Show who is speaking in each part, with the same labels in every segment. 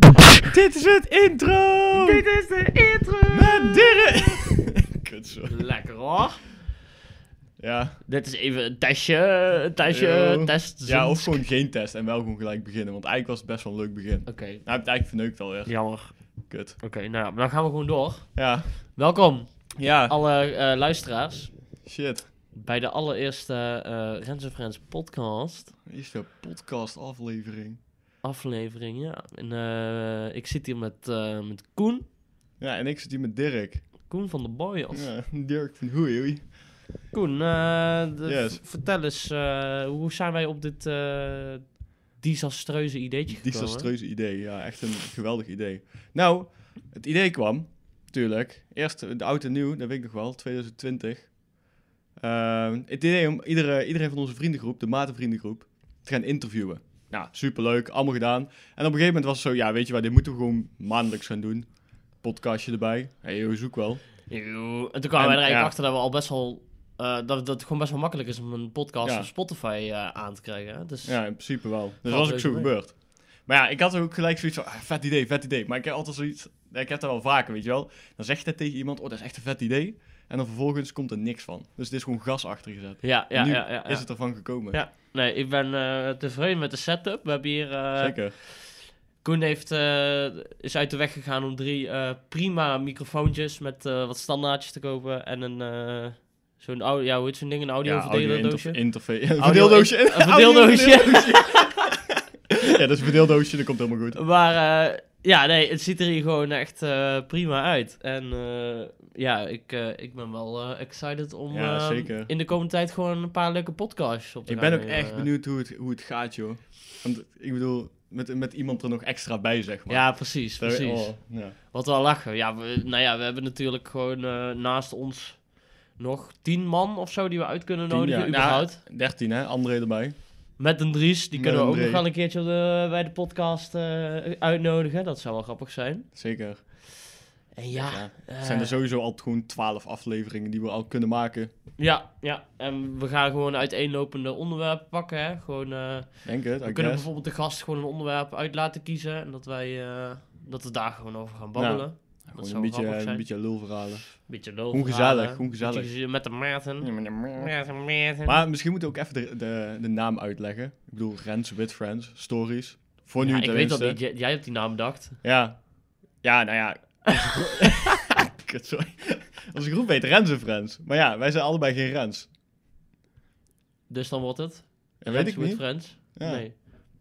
Speaker 1: Dit is even een testje, een testje,
Speaker 2: Yo.
Speaker 1: eh, test.
Speaker 2: Ja, of gewoon geen test en wel gewoon gelijk beginnen. Want eigenlijk was het best wel een leuk begin.
Speaker 1: Oké,
Speaker 2: Nou, heb ik het eigenlijk verneukt alweer.
Speaker 1: jammer.
Speaker 2: Kut.
Speaker 1: Oké, nou ja, dan gaan we gewoon door.
Speaker 2: Ja.
Speaker 1: Welkom,
Speaker 2: Ja.
Speaker 1: alle eh, luisteraars,
Speaker 2: Shit.
Speaker 1: bij de allereerste eh Rens en Friends podcast.
Speaker 2: Is de podcast aflevering.
Speaker 1: Aflevering, ja. En eh, ik zit hier met, eh, met Koen.
Speaker 2: Ja, en ik zit hier met Dirk.
Speaker 1: Koen van de Boyos.
Speaker 2: Ja, Dirk van Hoei Hoei.
Speaker 1: Koen, eh, de-
Speaker 2: Yes.
Speaker 1: v- vertel eens, eh, hoe zijn wij op dit eh, desastreuze ideetje gekomen?
Speaker 2: Desastreuze idee. Ja, echt een geweldig idee. Nou, het idee kwam, natuurlijk. Eerst eh, de oud en nieuw, dat weet ik nog wel, 2020. Ehm, het idee om iedere, iedereen van onze vriendengroep, de matenvriendengroep, te gaan interviewen. Nou, superleuk, allemaal gedaan. En op een gegeven moment was het zo, ja, weet je wat, dit moeten we gewoon maandelijks gaan doen. Podcastje erbij. Hey, joh, zoek wel.
Speaker 1: Eeuw. En toen kwamen
Speaker 2: En,
Speaker 1: wij er eigenlijk
Speaker 2: ja.
Speaker 1: achter dat we al best wel... eh, dat, dat het gewoon best wel makkelijk is om een podcast
Speaker 2: Ja.
Speaker 1: op Spotify eh, aan te krijgen. hè. Dus,
Speaker 2: Ja, in principe wel. Dus
Speaker 1: Valt
Speaker 2: dat was ook
Speaker 1: reuze
Speaker 2: zo
Speaker 1: mee.
Speaker 2: gebeurd. Maar ja, ik had ook gelijk zoiets van, ah, vet idee, vet idee. Maar ik heb altijd zoiets, ik heb dat wel vaker, weet je wel. Dan zeg je dat tegen iemand, oh, dat is echt een vet idee. En dan vervolgens komt er niks van. Dus het is gewoon gas achter gezet.
Speaker 1: ja, ja,
Speaker 2: Nu
Speaker 1: ja, ja, ja.
Speaker 2: Is het ervan gekomen?
Speaker 1: Ja. Nee, ik ben eh, tevreden met de setup. We hebben hier... eh,
Speaker 2: Zeker.
Speaker 1: Koen heeft, eh, is uit de weg gegaan om drie eh, prima microfoontjes met eh, wat standaardjes te kopen. En een... eh, zo'n audio... Ja, hoe heet zo'n ding? Een audio verdelerdoosje?
Speaker 2: interface. Een
Speaker 1: Audio-
Speaker 2: verdeeldoosje.
Speaker 1: een
Speaker 2: Audio-
Speaker 1: verdeeldoosje.
Speaker 2: ja, dat is een verdeeldoosje, dat komt helemaal goed.
Speaker 1: Maar eh, ja, nee, het ziet er hier gewoon echt eh, prima uit. En eh, ja, ik, eh, ik ben wel eh, excited om
Speaker 2: Ja,
Speaker 1: eh,
Speaker 2: zeker.
Speaker 1: in de komende tijd gewoon een paar leuke podcasts op te
Speaker 2: Ik
Speaker 1: gaan
Speaker 2: ben ook
Speaker 1: nemen. eh.
Speaker 2: echt benieuwd hoe het, hoe het gaat, joh. Want ik bedoel, met, met iemand er nog extra bij, zeg maar.
Speaker 1: Ja, precies,
Speaker 2: Daar-
Speaker 1: precies.
Speaker 2: oh, ja.
Speaker 1: Wat wel lachen. Ja, we, nou ja, we hebben natuurlijk gewoon eh, naast ons nog tien man of zo die we uit kunnen
Speaker 2: Tien,
Speaker 1: nodigen,
Speaker 2: ja. Nou,
Speaker 1: überhaupt.
Speaker 2: 13, hè? André erbij.
Speaker 1: Met een Dries, die
Speaker 2: Met
Speaker 1: kunnen we
Speaker 2: een
Speaker 1: ook nog
Speaker 2: Drie.
Speaker 1: wel een keertje op de- bij de podcast eh, uitnodigen. Dat zou wel grappig zijn.
Speaker 2: Zeker.
Speaker 1: En ja...
Speaker 2: Ja.
Speaker 1: eh,
Speaker 2: Het zijn er sowieso al gewoon 12 afleveringen die we al kunnen maken,
Speaker 1: Ja, ja. En we gaan gewoon uiteenlopende onderwerpen pakken. Hè? Gewoon, eh,
Speaker 2: denk het.
Speaker 1: we kunnen bijvoorbeeld de gast gewoon een onderwerp uit laten kiezen. En dat wij eh, dat we daar gewoon over gaan babbelen. dat
Speaker 2: Gewoon
Speaker 1: zou
Speaker 2: een beetje,
Speaker 1: grappig
Speaker 2: een
Speaker 1: zijn.
Speaker 2: beetje lulverhalen.
Speaker 1: Beetje lul.
Speaker 2: Gewoon
Speaker 1: verhalen,
Speaker 2: gezellig, gewoon
Speaker 1: beetje
Speaker 2: gezellig.
Speaker 1: geze- met de Maarten. Maarten, Maarten.
Speaker 2: Maar misschien moeten we ook even de, de, de naam uitleggen. Ik bedoel, Rens with Friends, Stories. Voor
Speaker 1: Ja,
Speaker 2: nu
Speaker 1: ik weet dat
Speaker 2: tenminste.
Speaker 1: niet. Jij, jij hebt die naam bedacht.
Speaker 2: Ja. Ja, nou ja. Kut, sorry. Onze groep heet Rens with Friends. Maar ja, wij zijn allebei geen Rens.
Speaker 1: Dus dan wordt het.
Speaker 2: Dat
Speaker 1: Friends
Speaker 2: weet ik
Speaker 1: with
Speaker 2: niet.
Speaker 1: Friends.
Speaker 2: Ja.
Speaker 1: Nee.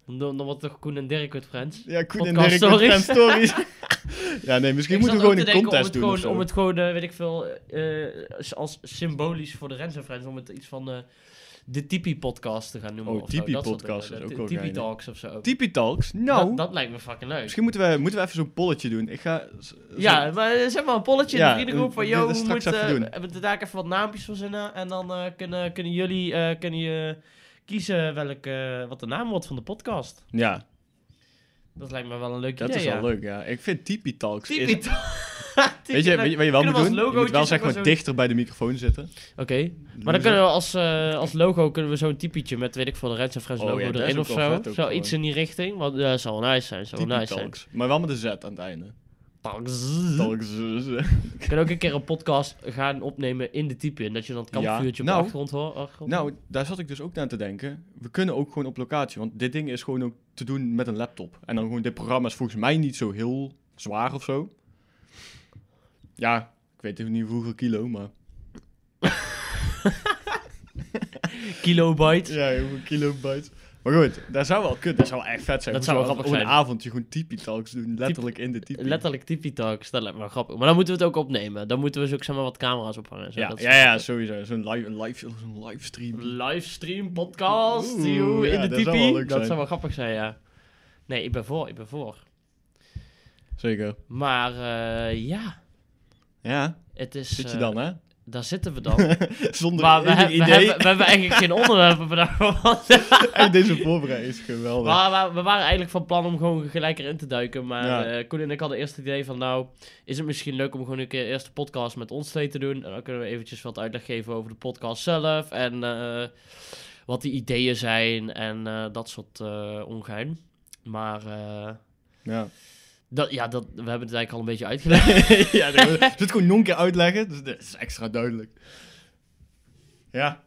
Speaker 1: Dan, dan wordt het toch Koen en Dirk with Friends.
Speaker 2: Ja, Koen en
Speaker 1: Podcast
Speaker 2: Dirk with
Speaker 1: stories.
Speaker 2: Friends Stories. ja, nee, misschien
Speaker 1: Ik
Speaker 2: moeten we gewoon
Speaker 1: zat ook
Speaker 2: een
Speaker 1: te denken
Speaker 2: contest doen
Speaker 1: om
Speaker 2: of
Speaker 1: het
Speaker 2: zo.
Speaker 1: gewoon, Om het gewoon, eh, weet ik veel, eh, eh, als symbolisch voor de Rens en Friends, om het iets van eh, de Tipi-podcast te gaan noemen.
Speaker 2: Oh,
Speaker 1: of zo. Dat soort
Speaker 2: Tipi-podcast
Speaker 1: dingen.
Speaker 2: is ook
Speaker 1: De
Speaker 2: wel
Speaker 1: Tipi
Speaker 2: geinig.
Speaker 1: Talks of zo.
Speaker 2: Tipi Talks? Nou...
Speaker 1: Dat, dat lijkt me fucking leuk.
Speaker 2: Misschien moeten we, moeten we even zo'n polletje doen. Ik ga... z- zo-
Speaker 1: Ja, maar eh, zeg maar een polletje in
Speaker 2: Ja,
Speaker 1: de vriendengroep van,
Speaker 2: dat-
Speaker 1: yo,
Speaker 2: dat
Speaker 1: we
Speaker 2: straks
Speaker 1: moeten,
Speaker 2: even doen.
Speaker 1: eh, we moeten daar even wat naampjes verzinnen en dan eh, kunnen, kunnen jullie eh, kunnen je kiezen welke, wat de naam wordt van de podcast.
Speaker 2: Ja,
Speaker 1: Dat lijkt me wel een leuk
Speaker 2: Dat
Speaker 1: idee,
Speaker 2: is
Speaker 1: ja.
Speaker 2: wel leuk, ja. Ik vind Tipi Talks... is-
Speaker 1: Tipi Talks.
Speaker 2: Weet je, weet je, weet je wel moet
Speaker 1: Kunnen we als
Speaker 2: doen? Je moet wel
Speaker 1: logootjes
Speaker 2: zeg
Speaker 1: ook wel
Speaker 2: maar
Speaker 1: zo'n-
Speaker 2: dichter bij de microfoon zitten.
Speaker 1: Oké, Maar dan kunnen we als, eh, als logo kunnen we zo'n typietje met, weet ik veel, de Reds en Friends
Speaker 2: Oh
Speaker 1: logo
Speaker 2: ja, dat is
Speaker 1: erin
Speaker 2: ook
Speaker 1: of
Speaker 2: wel
Speaker 1: zo.
Speaker 2: vet ook
Speaker 1: Zo iets in die richting, want dat zou wel nice zijn, zou wel
Speaker 2: Tipi
Speaker 1: nice Hm? zijn.
Speaker 2: Talks. Maar wel met een Z aan het einde.
Speaker 1: Talks.
Speaker 2: Talks.
Speaker 1: We kunnen ook een keer een podcast gaan opnemen in de type en dat je dan het
Speaker 2: Ja.
Speaker 1: kampvuurtje op
Speaker 2: Nou.
Speaker 1: de achtergrond hoort. achtergrond hoort.
Speaker 2: Nou, daar zat ik dus ook aan te denken. We kunnen ook gewoon op locatie, want dit ding is gewoon ook te doen met een laptop. En dan gewoon, dit programma is volgens mij niet zo heel zwaar of zo. Ja, ik weet even niet hoeveel kilo, maar...
Speaker 1: Kilobyte.
Speaker 2: Ja, hoeveel kilobyte. Maar goed, dat zou wel kunnen. Dat zou wel echt vet zijn.
Speaker 1: Dat
Speaker 2: We
Speaker 1: zou
Speaker 2: moeten wel
Speaker 1: grappig
Speaker 2: op
Speaker 1: zijn.
Speaker 2: een avondje gewoon Tipi Talks doen, letterlijk in de Tipi.
Speaker 1: Letterlijk typie talks, dat lijkt me wel grappig. Maar dan moeten we het ook opnemen. Dan moeten we dus ook zeg maar, wat camera's ophangen. en Zo.
Speaker 2: Ja,
Speaker 1: dat is-
Speaker 2: ja, ja, sowieso. Zo'n live, een live, zo'n livestream.
Speaker 1: Livestream, podcast,
Speaker 2: Oeh,
Speaker 1: joe,
Speaker 2: ja,
Speaker 1: in de
Speaker 2: dat zou
Speaker 1: typie.
Speaker 2: wel
Speaker 1: Dat,
Speaker 2: leuk zijn.
Speaker 1: zou wel grappig zijn, ja. Nee, ik ben voor, ik ben voor.
Speaker 2: Zeker.
Speaker 1: Maar eh, ja,
Speaker 2: Ja,
Speaker 1: het is...
Speaker 2: zit je
Speaker 1: eh,
Speaker 2: dan, hè?
Speaker 1: Daar zitten we dan.
Speaker 2: Zonder
Speaker 1: Maar we,
Speaker 2: enig
Speaker 1: hebben- we
Speaker 2: idee.
Speaker 1: hebben, we hebben eigenlijk geen onderwerpen bedacht. want-
Speaker 2: En deze voorbereiding is geweldig.
Speaker 1: maar, maar we waren eigenlijk van plan om gewoon gelijk erin te duiken. Maar
Speaker 2: Ja.
Speaker 1: eh, Koen en ik hadden eerst het idee van... Nou, is het misschien leuk om gewoon een keer eerst de podcast met ons twee te doen? En dan kunnen we eventjes wat uitleg geven over de podcast zelf. En eh, wat de ideeën zijn. En eh, dat soort eh, ongein. Maar eh,
Speaker 2: Ja.
Speaker 1: dat, ja, dat, we hebben het eigenlijk al een beetje uitgelegd.
Speaker 2: ja, dat moet- moet het gewoon nog een keer uitleggen. Dus dat is extra duidelijk. Ja.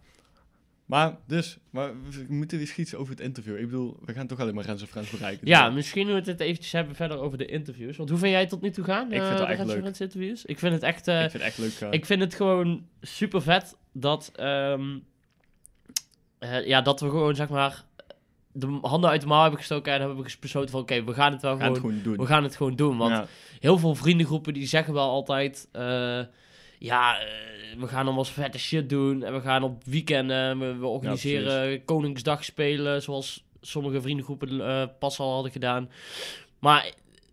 Speaker 2: Maar dus, maar we we moeten weer schieten over het interview. Ik bedoel, we gaan toch alleen maar Rens en Friends bereiken.
Speaker 1: Ja,
Speaker 2: Dus-
Speaker 1: misschien moeten we het eventjes hebben verder over de interviews. Want hoe vind jij het tot nu toe gaan?
Speaker 2: vind het
Speaker 1: eh,
Speaker 2: wel
Speaker 1: de
Speaker 2: echt
Speaker 1: Rens en
Speaker 2: leuk.
Speaker 1: Friends interviews? Ik vind het echt... eh,
Speaker 2: ik vind het echt leuk. eh,
Speaker 1: Ik vind het gewoon super vet dat, ehm, eh, ja, dat we gewoon zeg maar de handen uit de mouw hebben gestoken en hebben ges- besloten van oké, we gaan het wel
Speaker 2: we gaan
Speaker 1: gewoon,
Speaker 2: het gewoon doen.
Speaker 1: we gaan het gewoon doen. Want
Speaker 2: Ja.
Speaker 1: heel veel vriendengroepen die zeggen wel altijd, eh, ja, eh, we gaan allemaal vette shit doen en we gaan op weekenden, we, we organiseren Koningsdag spelen zoals sommige vriendengroepen eh, pas al hadden gedaan. Maar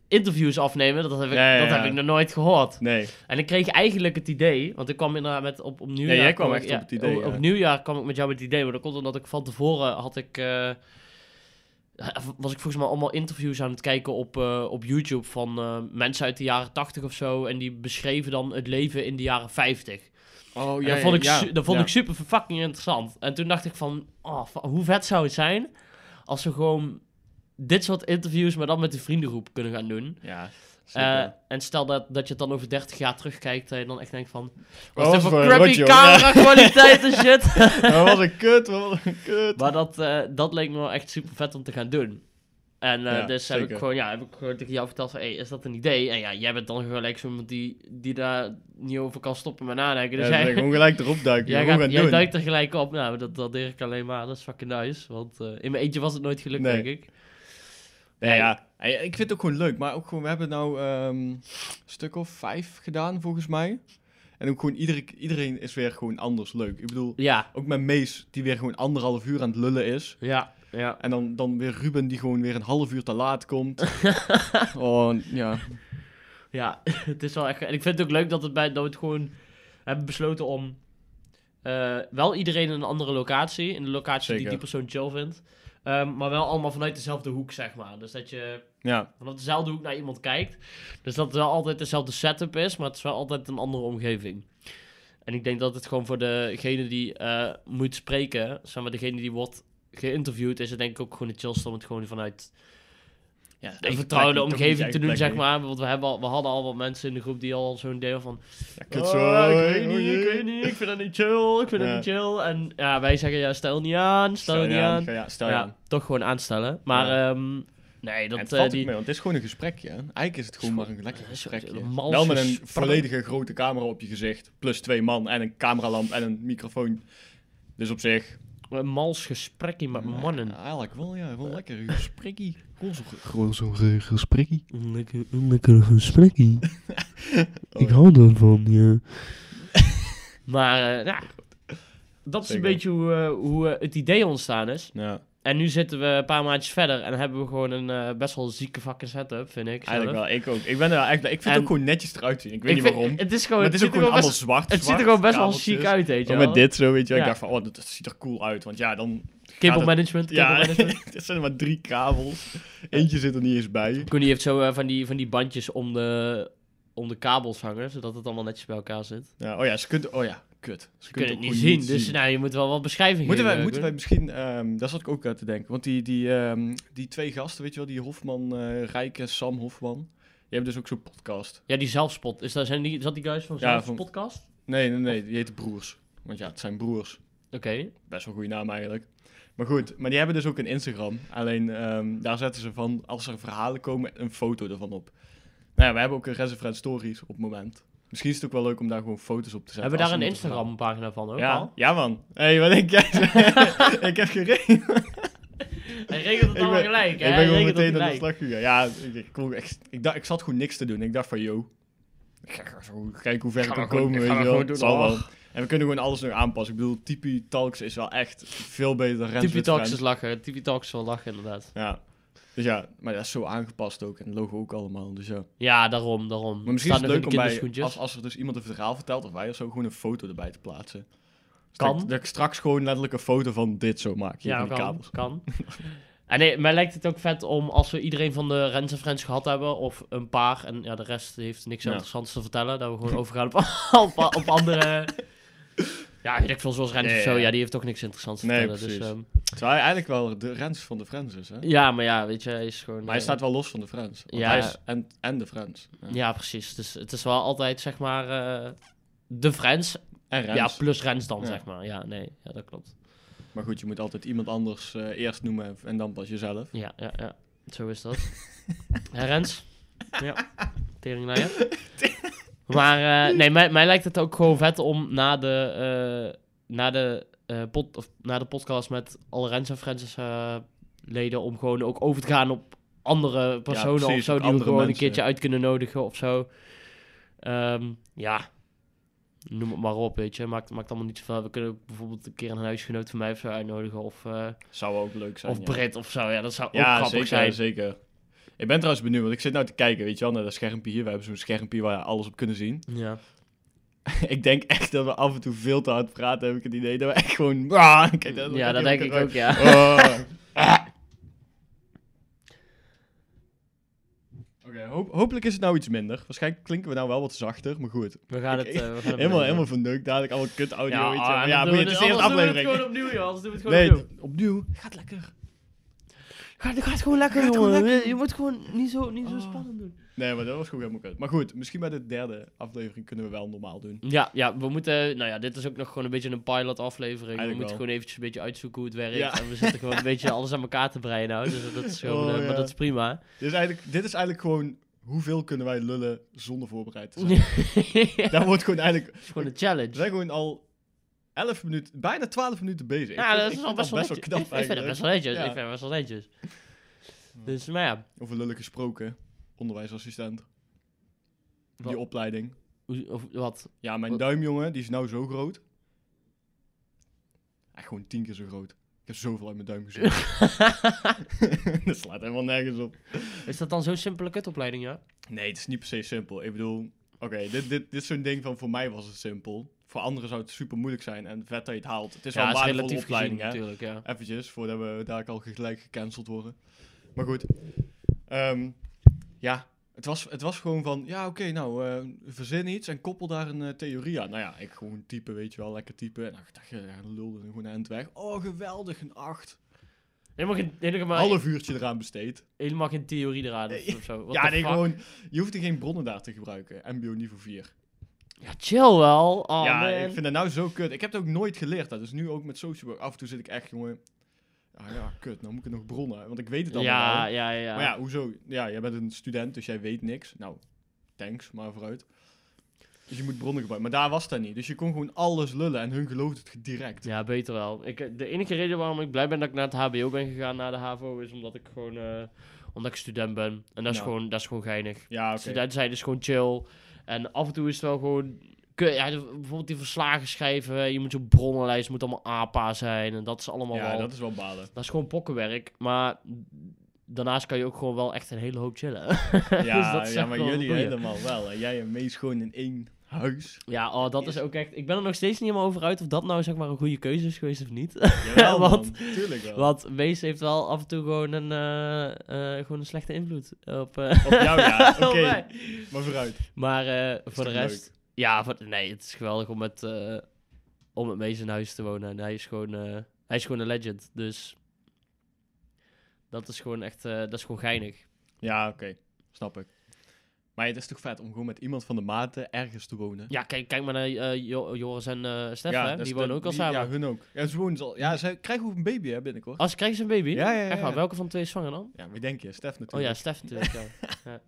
Speaker 1: interviews afnemen, dat heb ik,
Speaker 2: Ja, ja,
Speaker 1: Dat
Speaker 2: ja.
Speaker 1: heb ik nog nooit gehoord.
Speaker 2: Nee,
Speaker 1: En ik kreeg eigenlijk het idee, want ik kwam inderdaad met op, op nieuwjaar.
Speaker 2: jij kwam
Speaker 1: ik-
Speaker 2: echt op het idee,
Speaker 1: Op, op
Speaker 2: ja.
Speaker 1: nieuwjaar kwam ik met jou met het idee, maar dat komt omdat ik van tevoren had ik. eh, was ik volgens mij allemaal interviews aan het kijken op, eh, op YouTube van eh, mensen uit de jaren 80 of zo. En die beschreven dan het leven in de jaren 50.
Speaker 2: Oh,
Speaker 1: En dat vond, ik, su- dat vond ik super fucking interessant. En toen dacht ik van, oh, fa- hoe vet zou het zijn als we gewoon dit soort interviews, maar dan met de vriendengroep kunnen gaan doen.
Speaker 2: Ja,
Speaker 1: Eh,
Speaker 2: zeker.
Speaker 1: en stel dat, dat je het dan over 30 jaar terugkijkt, dat je dan echt denkt van...
Speaker 2: Oh, Wat
Speaker 1: Wat
Speaker 2: was
Speaker 1: is dit
Speaker 2: voor
Speaker 1: voor
Speaker 2: een
Speaker 1: crappy
Speaker 2: rotjoh? Ja.
Speaker 1: camera kwaliteit en shit?
Speaker 2: Maar wat een kut, wat een kut.
Speaker 1: maar dat, eh, dat leek me wel echt super vet om te gaan doen. En eh,
Speaker 2: Ja,
Speaker 1: dus heb ik,
Speaker 2: zeker.
Speaker 1: gewoon, ja, heb ik gewoon tegen jou verteld van, hey, is dat een idee? En ja, jij bent dan gelijk zo iemand die, die daar niet over kan stoppen met nadenken. Dus
Speaker 2: ja,
Speaker 1: jij,
Speaker 2: dan gewoon gelijk erop duiken.
Speaker 1: jij,
Speaker 2: gewoon
Speaker 1: gaat,
Speaker 2: gaan
Speaker 1: jij
Speaker 2: doen.
Speaker 1: duikt er gelijk op. Nou, dat, dat deed ik alleen maar. Dat is fucking nice. Want eh, in mijn eentje was het nooit gelukt,
Speaker 2: Nee.
Speaker 1: denk ik.
Speaker 2: Ja, ja. Hey, Ik vind het ook gewoon leuk. Maar ook gewoon, we hebben nou ehm, een stuk of vijf gedaan, volgens mij. En ook gewoon iedere, iedereen is weer gewoon anders leuk. Ik bedoel,
Speaker 1: Ja,
Speaker 2: ook met Mees, die weer gewoon anderhalf uur aan het lullen is.
Speaker 1: ja, ja.
Speaker 2: En dan, dan weer Ruben, die gewoon weer een half uur te laat komt. oh, ja.
Speaker 1: Ja, het is wel echt. En ik vind het ook leuk dat, het bij, dat we het gewoon hebben besloten om. eh, wel iedereen in een andere locatie. In de locatie die
Speaker 2: Zeker.
Speaker 1: die persoon chill vindt. Ehm, maar wel allemaal vanuit dezelfde hoek, zeg maar. Dus dat je
Speaker 2: Ja,
Speaker 1: vanaf dezelfde hoek naar iemand kijkt. Dus dat het wel altijd dezelfde setup is, maar het is wel altijd een andere omgeving. En ik denk dat het gewoon voor degene die eh, moet spreken, zeg maar degene die wordt geïnterviewd, is het denk ik ook gewoon het chillste om het gewoon vanuit
Speaker 2: ja
Speaker 1: een vertrouwde omgeving te doen, zeg maar. Want we, hebben al, we hadden al wat mensen in de groep die al zo'n deel van...
Speaker 2: Ja, kut zo.
Speaker 1: Oh, ik weet
Speaker 2: Oh,
Speaker 1: niet,
Speaker 2: jee.
Speaker 1: ik weet niet, ik vind dat niet chill, ik vind
Speaker 2: Ja.
Speaker 1: dat niet chill. En ja, wij zeggen, ja, stel niet aan, stel, niet aan.
Speaker 2: Ja, stel
Speaker 1: Ja,
Speaker 2: je aan.
Speaker 1: toch gewoon aanstellen. Maar
Speaker 2: Ja.
Speaker 1: ehm, nee,
Speaker 2: en het
Speaker 1: dat... eh,
Speaker 2: valt ook
Speaker 1: die, eh,
Speaker 2: mee, want het is gewoon een gesprekje. hè. Eigenlijk is het gewoon maar een lekker
Speaker 1: Het is
Speaker 2: gesprekje.
Speaker 1: een mals
Speaker 2: Wel met een
Speaker 1: gesprek.
Speaker 2: volledige grote camera op je gezicht. Plus twee man en een cameralamp en een microfoon. Dus op zich... eh,
Speaker 1: een mals gesprekje met mannen. Eh,
Speaker 2: Ja, eigenlijk wel, ja. Wel lekker. Een gesprekkie. Gewoon zo'n ge-
Speaker 3: Gewoon zo'n ge- gesprekkie.
Speaker 1: Een lekker-
Speaker 3: Een lekker gesprekkie.
Speaker 2: Ik
Speaker 3: Ik hou daarvan, ja.
Speaker 1: Maar eh, ja, dat is
Speaker 2: Zeker.
Speaker 1: een beetje hoe, eh, hoe eh, het idee ontstaan is.
Speaker 2: Ja,
Speaker 1: En nu zitten we een paar maandjes verder en hebben we gewoon een eh, best wel zieke fucking setup, vind ik. zelf.
Speaker 2: eigenlijk wel. Ik ook. Ik ben er echt... Ik vind het
Speaker 1: En-
Speaker 2: ook gewoon netjes eruit zien. Ik weet
Speaker 1: Ik
Speaker 2: niet
Speaker 1: vind-
Speaker 2: waarom.
Speaker 1: Het is
Speaker 2: Maar
Speaker 1: gewoon,
Speaker 2: het is ook
Speaker 1: ziet er
Speaker 2: gewoon
Speaker 1: wel
Speaker 2: allemaal
Speaker 1: best-
Speaker 2: zwart.
Speaker 1: Het ziet
Speaker 2: zwart,
Speaker 1: er gewoon best wel
Speaker 2: kabeltjes.
Speaker 1: chic uit, weet je
Speaker 2: Ook
Speaker 1: wel.
Speaker 2: met dit zo, weet je wel. Ik
Speaker 1: Ja.
Speaker 2: dacht van, oh, dat, dat ziet er cool uit. Want ja, dan...
Speaker 1: Cable
Speaker 2: Ja, dat-
Speaker 1: management.
Speaker 2: Ja,
Speaker 1: Ja. management.
Speaker 2: het zijn er maar drie kabels. Eentje zit er niet eens bij.
Speaker 1: Koenie heeft zo eh, van, die, van die bandjes om de, om de kabels hangen, zodat het allemaal netjes bij elkaar zit.
Speaker 2: Ja, oh ja, ze kunt... Oh ja, kut. Ze
Speaker 1: Je kunt het
Speaker 2: ook
Speaker 1: niet
Speaker 2: gewoon
Speaker 1: zien, dus nou, je moet wel wat beschrijving
Speaker 2: Moeten wij,
Speaker 1: geven.
Speaker 2: moeten wij
Speaker 1: Koen.
Speaker 2: misschien, ehm daar zat ik ook aan te denken, want die, die, ehm, die twee gasten, weet je wel, die Hofman, eh Rijk en Sam Hofman, die hebben dus ook zo'n podcast.
Speaker 1: Ja, die zelfspot. Is dat, zijn die, zat die guys van
Speaker 2: Ja,
Speaker 1: zelfs
Speaker 2: van-
Speaker 1: podcast?
Speaker 2: Nee, nee, nee, die heet Broers. Want ja, het zijn broers.
Speaker 1: Oké.
Speaker 2: Best wel een goede naam eigenlijk. Maar goed, maar die hebben dus ook een Instagram. Alleen ehm, daar zetten ze van, als er verhalen komen, een foto ervan op. Nou ja, we hebben ook een Reservoir Stories op het moment. Misschien is het ook wel leuk om daar gewoon foto's op te zetten.
Speaker 1: Hebben we daar
Speaker 2: als
Speaker 1: een
Speaker 2: iemand verhaal-
Speaker 1: Instagram pagina van ook
Speaker 2: Ja,
Speaker 1: al?
Speaker 2: ja man. hey, wat denk jij? ik heb geregeld.
Speaker 1: Hij regelt
Speaker 2: Ik
Speaker 1: het allemaal
Speaker 2: ben-
Speaker 1: gelijk, hè?
Speaker 2: ik
Speaker 1: Hij
Speaker 2: ben gewoon
Speaker 1: regelt het
Speaker 2: meteen aan de
Speaker 1: gelijk.
Speaker 2: slag gegaan. Ja, ik, ik, kon- ik, ik, dacht- ik zat gewoon niks te doen. Ik dacht van, yo, ik ga gewoon zo kijken hoe ver ik
Speaker 1: Gaan
Speaker 2: kan
Speaker 1: we gewoon-
Speaker 2: komen. Weet
Speaker 1: gaan
Speaker 2: je
Speaker 1: we
Speaker 2: wel.
Speaker 1: gewoon
Speaker 2: Het
Speaker 1: doen,
Speaker 2: zal wel.
Speaker 1: och.
Speaker 2: En we kunnen gewoon alles nog aanpassen. Ik bedoel, Tipi Talks is wel echt veel beter dan Rens
Speaker 1: Tippy
Speaker 2: with
Speaker 1: Talks is
Speaker 2: Friends.
Speaker 1: lachen. Tippy Talks is wel lachen, inderdaad.
Speaker 2: Ja. Dus ja, maar dat is zo aangepast ook. En het logo ook allemaal. Dus ja.
Speaker 1: Ja, daarom, daarom.
Speaker 2: Maar misschien
Speaker 1: Staat
Speaker 2: is
Speaker 1: nog
Speaker 2: het leuk
Speaker 1: in de
Speaker 2: om bij,
Speaker 1: kinderschoentjes.
Speaker 2: als, als er dus iemand een verhaal vertelt of wij of zo, gewoon een foto erbij te plaatsen. Dus
Speaker 1: Kan.
Speaker 2: Dat, ik- dat ik straks gewoon letterlijk een foto van dit zo maak. Hier,
Speaker 1: Ja,
Speaker 2: van die
Speaker 1: kan,
Speaker 2: kabels.
Speaker 1: kan. En nee, mij lijkt het ook vet om als we iedereen van de Rens en Friends gehad hebben, of een paar, en ja, de rest heeft niks
Speaker 2: Ja.
Speaker 1: interessants te vertellen, dat we gewoon overgaan op, op, op andere... Ja, weet ik veel, zoals Rens
Speaker 2: Ja,
Speaker 1: of zo,
Speaker 2: ja, ja.
Speaker 1: ja, die heeft ook niks interessants te
Speaker 2: Nee,
Speaker 1: vertellen. Dus,
Speaker 2: precies.
Speaker 1: ehm,
Speaker 2: Terwijl hij eigenlijk wel de Rens van de Friends is, hè?
Speaker 1: ja, maar ja, weet je, hij is gewoon...
Speaker 2: Maar hij
Speaker 1: eh,
Speaker 2: staat wel los van de Friends. Want
Speaker 1: Ja.
Speaker 2: hij is en, en de Friends. Ja.
Speaker 1: Ja, precies. Dus het is wel altijd, zeg maar, eh, de Friends.
Speaker 2: En Rens.
Speaker 1: Ja, plus Rens dan,
Speaker 2: Ja.
Speaker 1: zeg maar. Ja, nee, ja, dat klopt.
Speaker 2: Maar goed, je moet altijd iemand anders eh, eerst noemen en dan pas jezelf.
Speaker 1: Ja, ja, ja. Zo is dat. Hè, Rens? Ja. Teringlaaier. Maar eh, nee, mij, mij lijkt het ook gewoon vet om na de, eh, na de, eh, pod, of, na de podcast met alle Rens en Francis eh, leden om gewoon ook over te gaan op andere personen
Speaker 2: precies,
Speaker 1: of zo.
Speaker 2: op
Speaker 1: Die we
Speaker 2: andere
Speaker 1: gewoon een
Speaker 2: mensen.
Speaker 1: keertje uit kunnen nodigen of zo. Ehm, ja. Noem het maar op, weet je. Maakt, maakt allemaal niet zoveel. uit. We kunnen ook bijvoorbeeld een keer een huisgenoot van mij of zo uitnodigen. Of, eh,
Speaker 2: Zou ook leuk zijn.
Speaker 1: of
Speaker 2: ja.
Speaker 1: Brit of zo. Ja, dat zou ook
Speaker 2: Ja,
Speaker 1: grappig
Speaker 2: zeker,
Speaker 1: zijn.
Speaker 2: zeker. Ik ben trouwens benieuwd, want ik zit nou te kijken, weet je wel, naar dat schermpje hier. We hebben zo'n schermpje waar we alles op kunnen zien.
Speaker 1: Ja.
Speaker 2: ik denk echt dat we af en toe veel te hard praten, heb ik het idee. Dat we echt gewoon... Ah, kijk, dat
Speaker 1: ja, dat denk ik ook, ja.
Speaker 2: Ah. Oké, hoop- hopelijk is het nou iets minder. Waarschijnlijk klinken we nou wel wat zachter, maar goed.
Speaker 1: We gaan het...
Speaker 2: Ik-
Speaker 1: eh, we gaan het
Speaker 2: Helemaal, helemaal verneukt, dadelijk allemaal kut audio.
Speaker 1: Ja,
Speaker 2: weet je.
Speaker 1: ah,
Speaker 2: Maar
Speaker 1: en
Speaker 2: ja
Speaker 1: dan
Speaker 2: maar
Speaker 1: doen
Speaker 2: het
Speaker 1: we
Speaker 2: is
Speaker 1: het-
Speaker 2: de eerste
Speaker 1: anders doen we
Speaker 2: aflevering.
Speaker 1: het gewoon opnieuw, joh. Anders doen we het gewoon
Speaker 2: Nee,
Speaker 1: opnieuw.
Speaker 2: opnieuw. Gaat lekker.
Speaker 1: Ga, ga het gewoon lekker,
Speaker 2: Ga het gewoon
Speaker 1: jongen.
Speaker 2: lekker.
Speaker 1: Je moet gewoon niet zo, niet zo
Speaker 2: Oh.
Speaker 1: spannend doen.
Speaker 2: Nee, maar dat was gewoon helemaal kut. Maar goed, misschien bij de derde aflevering kunnen we wel normaal doen.
Speaker 1: Ja, ja, we moeten... Nou ja, dit is ook nog gewoon een beetje een pilot aflevering.
Speaker 2: Eigenlijk
Speaker 1: we moeten
Speaker 2: wel.
Speaker 1: gewoon eventjes een beetje uitzoeken hoe het werkt.
Speaker 2: Ja.
Speaker 1: En we zitten gewoon een beetje alles aan elkaar te breien nou. Dus dat is gewoon...
Speaker 2: Oh,
Speaker 1: eh, Maar
Speaker 2: ja.
Speaker 1: dat is prima.
Speaker 2: Dit is eigenlijk, dit is eigenlijk gewoon hoeveel kunnen wij lullen zonder voorbereid te zijn. Dat wordt gewoon eigenlijk...
Speaker 1: is gewoon een
Speaker 2: We
Speaker 1: challenge.
Speaker 2: zijn gewoon al 11 minuten, bijna 12 minuten bezig.
Speaker 1: Ja,
Speaker 2: Ik
Speaker 1: dat
Speaker 2: vind-
Speaker 1: is
Speaker 2: ik
Speaker 1: wel best
Speaker 2: vind dat
Speaker 1: wel netjes.
Speaker 2: knap
Speaker 1: Ik vind het
Speaker 2: eigenlijk.
Speaker 1: best wel netjes. Ik
Speaker 2: Ja.
Speaker 1: vind het best wel netjes. Dus, maar ja.
Speaker 2: Over lullen gesproken, onderwijsassistent.
Speaker 1: Wat-
Speaker 2: Die opleiding.
Speaker 1: hoe- Of wat?
Speaker 2: Ja, mijn
Speaker 1: Wat-
Speaker 2: duimjongen, die is nou zo groot. Echt gewoon tien keer zo groot. Ik heb zoveel uit mijn duim gezien. dat slaat helemaal nergens op.
Speaker 1: Is dat dan zo'n simpele kutopleiding, ja?
Speaker 2: Nee, het is niet per se simpel. Ik bedoel, oké, dit, dit, dit is zo'n ding van voor mij was het simpel. Voor anderen zou het super moeilijk zijn en vet dat je het haalt. Het is
Speaker 1: ja,
Speaker 2: wel een
Speaker 1: is
Speaker 2: waardevolle
Speaker 1: relatief
Speaker 2: opleiding,
Speaker 1: gezien
Speaker 2: hè.
Speaker 1: natuurlijk, ja.
Speaker 2: Eventjes, voordat we daar al gelijk gecanceld worden. Maar goed. Ehm, ja, het was, het was gewoon van, ja oké, nou, eh, verzin iets en koppel daar een eh, theorie aan. Nou ja, ik gewoon typen, weet je wel, lekker typen. En dan dacht je, ja, lulde er gewoon aan het weg. Oh, geweldig, een acht.
Speaker 1: Helemaal geen, helemaal,
Speaker 2: Half uurtje eraan besteed.
Speaker 1: helemaal geen theorie eraan of,
Speaker 2: Nee.
Speaker 1: of zo. What
Speaker 2: Ja,
Speaker 1: the
Speaker 2: nee,
Speaker 1: fuck?
Speaker 2: gewoon, je hoeft er geen bronnen daar te gebruiken. MBO niveau 4.
Speaker 1: Ja, chill wel. Oh,
Speaker 2: ja,
Speaker 1: man.
Speaker 2: ik vind dat nou zo kut. Ik heb het ook nooit geleerd. Dat is nu ook met social work. Af en toe zit ik echt, jongen. Ah ja, kut. Nou moet ik het nog bronnen. Want ik weet het allemaal.
Speaker 1: ja,
Speaker 2: wel.
Speaker 1: ja, ja.
Speaker 2: Maar ja, hoezo? Ja, jij bent een student, dus jij weet niks. Nou, thanks, maar vooruit. Dus je moet bronnen gebruiken. Maar daar was dat niet. Dus je kon gewoon alles lullen en hun geloofde het direct.
Speaker 1: Ja, beter wel. Ik, eh, de enige reden waarom ik blij ben dat ik naar het HBO ben gegaan, naar de HAVO, is omdat ik gewoon... eh, omdat ik student ben. En dat is,
Speaker 2: Ja.
Speaker 1: gewoon, dat is gewoon geinig.
Speaker 2: Ja, oké.
Speaker 1: Student zijn is gewoon chill. En af en toe is het wel gewoon... kut. Ja, de- bijvoorbeeld die verslagen schrijven. Je moet zo'n bronnenlijst, moet allemaal APA zijn. En dat is allemaal
Speaker 2: Ja,
Speaker 1: wel...
Speaker 2: dat is wel balen.
Speaker 1: Dat is gewoon pokkenwerk, maar daarnaast kan je ook gewoon wel echt een hele hoop chillen.
Speaker 2: Ja,
Speaker 1: Dus dat is
Speaker 2: ja maar
Speaker 1: echt wel een
Speaker 2: jullie
Speaker 1: goeie.
Speaker 2: helemaal wel. En jij en Mees gewoon in één huis.
Speaker 1: Ja, oh, dat is ook echt... Ik ben er nog steeds niet helemaal over uit of dat nou zeg maar een goede keuze is geweest of niet.
Speaker 2: Jawel,
Speaker 1: Want-
Speaker 2: man. Tuurlijk wel.
Speaker 1: Want Wees heeft wel af en toe gewoon een, eh, eh, gewoon een slechte invloed op, eh,
Speaker 2: Op jou, ja. Oké.
Speaker 1: op mij.
Speaker 2: Maar vooruit.
Speaker 1: Maar eh, voor de
Speaker 2: toch
Speaker 1: rest... Ja, voor- nee, het is geweldig om met, eh, om met Mees in huis te wonen. En hij is gewoon, eh, hij is gewoon een legend, dus... Dat is gewoon echt... eh, dat is gewoon geinig.
Speaker 2: Ja, oké. Snap ik. Maar het is toch vet om gewoon met iemand van de maten ergens te wonen.
Speaker 1: Ja, kijk, kijk maar naar eh, Jo- Joris en eh Stef,
Speaker 2: Ja,
Speaker 1: hè?
Speaker 2: dat is
Speaker 1: Die wonen
Speaker 2: de-
Speaker 1: ook al samen.
Speaker 2: Ja, hun ook. Ja, ze wonen al. Ja, ze krijgen ook een baby hè, binnenkort.
Speaker 1: Als krijgen ze een baby?
Speaker 2: Ja, ja, ja,
Speaker 1: Echt waar,
Speaker 2: ja.
Speaker 1: welke van de twee is zwanger dan?
Speaker 2: Ja, wie denk je? Stef
Speaker 1: Oh ja,
Speaker 2: natuurlijk.
Speaker 1: Stef natuurlijk. ja.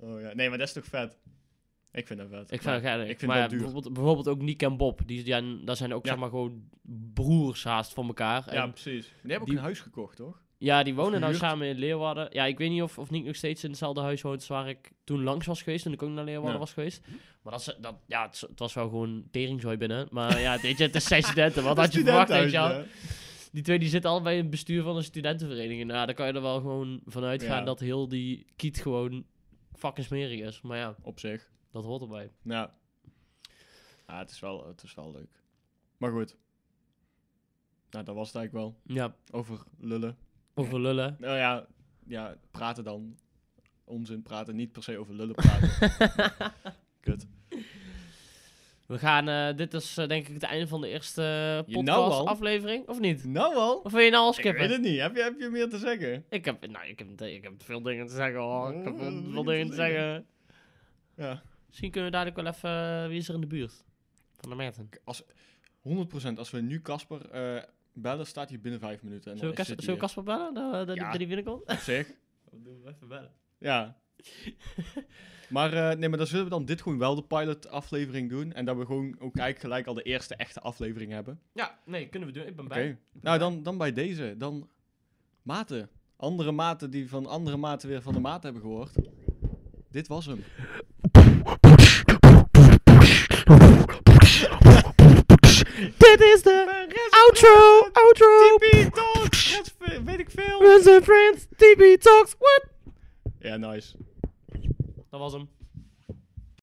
Speaker 2: Oh, ja. Nee, maar dat is toch vet? Ik vind dat vet.
Speaker 1: Ik vind
Speaker 2: Maar
Speaker 1: dat geinig.
Speaker 2: Ik vind
Speaker 1: maar
Speaker 2: dat
Speaker 1: ja,
Speaker 2: duur.
Speaker 1: bijvoorbeeld, bijvoorbeeld ook Nick en Bob. Die, die, daar zijn ook
Speaker 2: Ja.
Speaker 1: zeg maar gewoon broers haast van elkaar. En
Speaker 2: Ja,
Speaker 1: ja.
Speaker 2: precies. Maar Die hebben ook
Speaker 1: die-
Speaker 2: een huis gekocht, toch?
Speaker 1: die wonen nou
Speaker 2: Verhuurd.
Speaker 1: samen in Leeuwarden. Ja, ik weet niet of, of Nick nog steeds in hetzelfde huis woont als waar ik toen langs was geweest. Toen ik ook naar Leeuwarden
Speaker 2: Ja.
Speaker 1: was geweest. Maar dat, is- dat, ja, het, is- het was wel gewoon teringzooi binnen. Maar ja, weet je, het is zijn studenten. Wat had je verwacht, weet je wel?
Speaker 2: Studentenhuis,
Speaker 1: Die twee die zitten allebei in het bestuur van een studentenvereniging. Nou, daar kan je er wel gewoon vanuit gaan
Speaker 2: Ja.
Speaker 1: dat heel die kiet gewoon fucking smerig is. Maar ja,
Speaker 2: ja. Op zich.
Speaker 1: dat hoort erbij.
Speaker 2: Ja. Ah, het is wel, het is wel leuk. Maar goed. Nou, dat was het eigenlijk wel.
Speaker 1: Ja,
Speaker 2: Over lullen.
Speaker 1: over lullen.
Speaker 2: Nou ja, ja, praten dan. Onzin praten, niet per se over lullen praten. Kut.
Speaker 1: We gaan, eh, dit is eh, denk ik het einde van de eerste eh,
Speaker 2: Je nou
Speaker 1: podcast
Speaker 2: al?
Speaker 1: aflevering, of niet?
Speaker 2: Nou al.
Speaker 1: Of wil je nou al
Speaker 2: Ik weet
Speaker 1: skippen?
Speaker 2: het niet. Heb je, heb je meer te zeggen?
Speaker 1: Ik heb, nou, ik heb, ik heb veel dingen te zeggen hoor. Ik heb
Speaker 2: Oh,
Speaker 1: veel,
Speaker 2: dingen
Speaker 1: veel
Speaker 2: te
Speaker 1: dingen te
Speaker 2: zeggen.
Speaker 1: zeggen.
Speaker 2: Ja.
Speaker 1: Misschien kunnen we dadelijk wel even, eh, wie is er in de buurt? Van de Merten.
Speaker 2: 100% als we nu Casper eh, Bellen staat hier binnen vijf minuten. En
Speaker 1: Zullen we,
Speaker 2: dan
Speaker 1: Kas-
Speaker 2: zit
Speaker 1: zullen we
Speaker 2: hij
Speaker 1: Kasper bellen? Dat, eh, dat,
Speaker 2: Ja.
Speaker 1: dat die binnenkomt?
Speaker 2: hier. Op zich.
Speaker 1: Dan doen we even bellen.
Speaker 2: Ja. maar eh, nee, maar dan zullen we dan dit gewoon wel de pilot aflevering doen. En dat we gewoon ook eigenlijk gelijk al de eerste echte aflevering hebben.
Speaker 1: Ja, nee, kunnen we doen. Ik ben
Speaker 2: Oké.
Speaker 1: bij.
Speaker 2: Nou, dan, dan bij deze. Dan maten. Andere maten die van andere maten weer van de maat hebben gehoord. Dit was hem.
Speaker 3: Dit is de outro, outro.
Speaker 2: Tipi Talks! Weet ik veel!
Speaker 3: Friends and friends, TB Talks, what?
Speaker 2: Ja, nice.
Speaker 1: Dat was hem.